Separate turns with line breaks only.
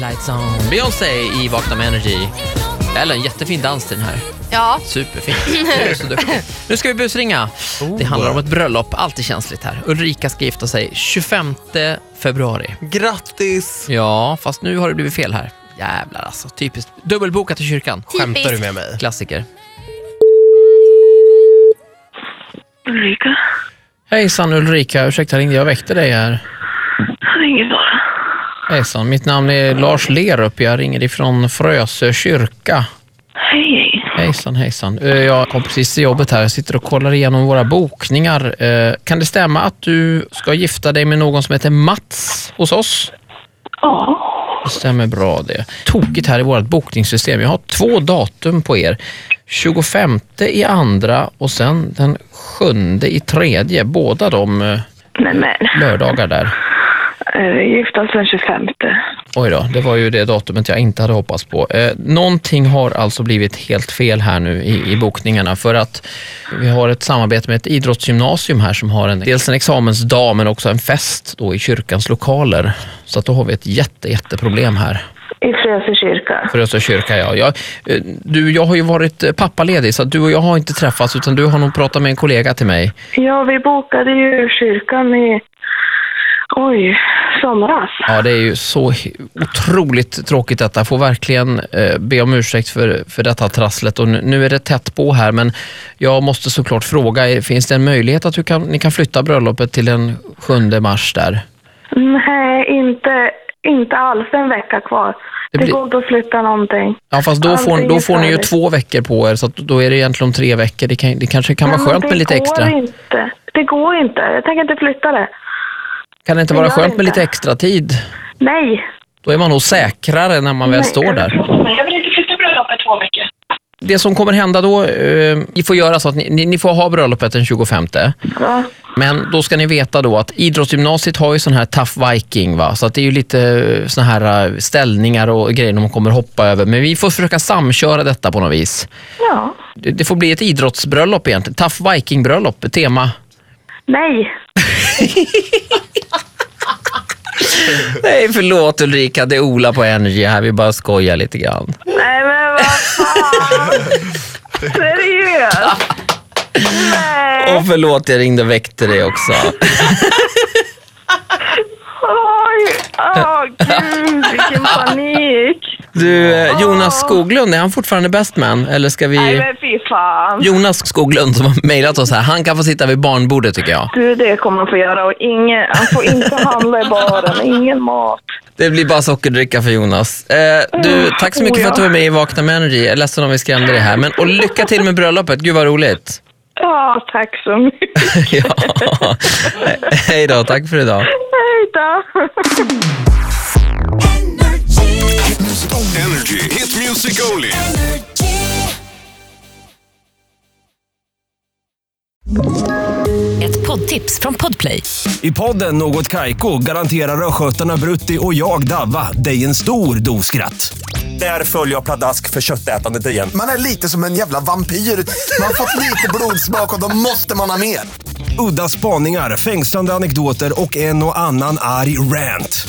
Lights on. Beyoncé i Vakna med Energy. Ellen, jättefin dans till den här.
Ja,
Superfin. Du är så duktig. Nu ska vi busringa. Det handlar
Oh.
om ett bröllop. Alltid känsligt här. Ulrika ska gifta sig 25 februari.
Grattis!
Ja, fast nu har det blivit fel här. Jävlar alltså. Typiskt. Dubbelbokat i kyrkan.
Skämtar du
typiskt.
med mig?
Klassiker.
Ulrika.
Hejsan Ulrika, ursäkta ringde jag och väckte dig här.
Det är ingen fara.
Hejsan, mitt namn är Lars Lerup. Jag ringer ifrån Frösö kyrka.
Hej, hej.
Hejsan hejsan. Eh, Jag kom precis till jobbet här. Jag sitter och kollar igenom våra bokningar. Eh, Kan det stämma att du ska gifta dig med någon som heter Mats hos oss?
Ja.
Det stämmer bra det. Tokigt här i vårt bokningssystem. Jag har två datum på er. 25 i andra och sen den 7 i tredje. Båda de eh,
Nej, men.
lördagar där.
Eh, Gifta oss den 25.
Oj då, det var ju det datumet jag inte hade hoppats på. Eh, någonting har alltså blivit helt fel här nu i, i bokningarna för att vi har ett samarbete med ett idrottsgymnasium här som har en, dels en examensdag men också en fest då i kyrkans lokaler. Så att då har vi ett jätte, jätteproblem här.
I Frösö kyrka.
För Östra kyrka, ja. Jag, eh, du, jag har ju varit eh, pappaledig så att du och jag har inte träffats utan du har nog pratat med en kollega till mig.
Ja, vi bokade ju kyrkan i... Oj, somras.
Ja, det är ju så he- otroligt tråkigt detta. Jag får verkligen eh, be om ursäkt för, för detta trasslet. Och nu, nu är det tätt på här, men jag måste såklart fråga, eh, finns det en möjlighet att du kan, ni kan flytta bröllopet till den 7 mars där?
Nej, inte, inte alls. En vecka kvar.
Det
Det,
blir-
går inte att flytta någonting.
Ja, fast då får,
Allting
då
är
får ni ju
färdigt.
två veckor på er, så att då är det egentligen om tre veckor. Det, kan, det kanske kan vara
Nej, men
skönt med
det
lite extra.
Går inte. Det går inte. Jag tänker inte flytta det.
Kan det inte
det
vara
gör
skönt med
inte.
lite extra tid?
Nej.
Då är man nog säkrare när man väl står där.
Jag vill inte flytta bröllopet två veckor.
Det som kommer hända då, eh, ni får göra så att ni, ni, ni får ha bröllopet den 25.
Ja.
Men då ska ni veta då att idrottsgymnasiet har ju sån här tough viking va, så att det är ju lite eh, såna här eh, ställningar och grejer de kommer hoppa över. Men vi får försöka samköra detta på något vis.
ja.
Det, det får bli ett idrottsbröllop egentligen, tough viking bröllop, tema.
Nej.
Nej förlåt Ulrika, det är Ola på Energy här, vi bara skojar lite grann.
Nej, men vad fan. Seriöst? Nej.
Och förlåt jag ringde och väckte dig också.
Oj. Åh, gud. Vilken panik.
Du, eh, Jonas Skoglund, är han fortfarande best man? Eller ska
Nej,
vi...
men fy fan.
Jonas Skoglund som har mejlat oss här, han kan få sitta vid barnbordet tycker jag.
Du, det kommer han få göra. Och ingen, han får inte handla i baren. Ingen mat.
Det blir bara sockerdricka för Jonas. Eh, du, tack så mycket för att du var med i Vakna med Energy. Jag är ledsen om vi skrämde dig här. Men, och lycka till med bröllopet. Gud vad roligt.
Ja, tack så mycket.
ja. Hej då, tack för idag.
Hej då.
Energy. Hit music only.
Ett poddtips från Podplay.
I podden Något Kaiko garanterar östgötarna Brutti och jag, Davva, dig en stor dos skratt. Där följer jag pladask för köttätandet igen.
Man är lite som en jävla vampyr. Man har fått lite blodsmak och då måste man ha mer.
Udda spaningar, fängslande anekdoter och en och annan arg rant.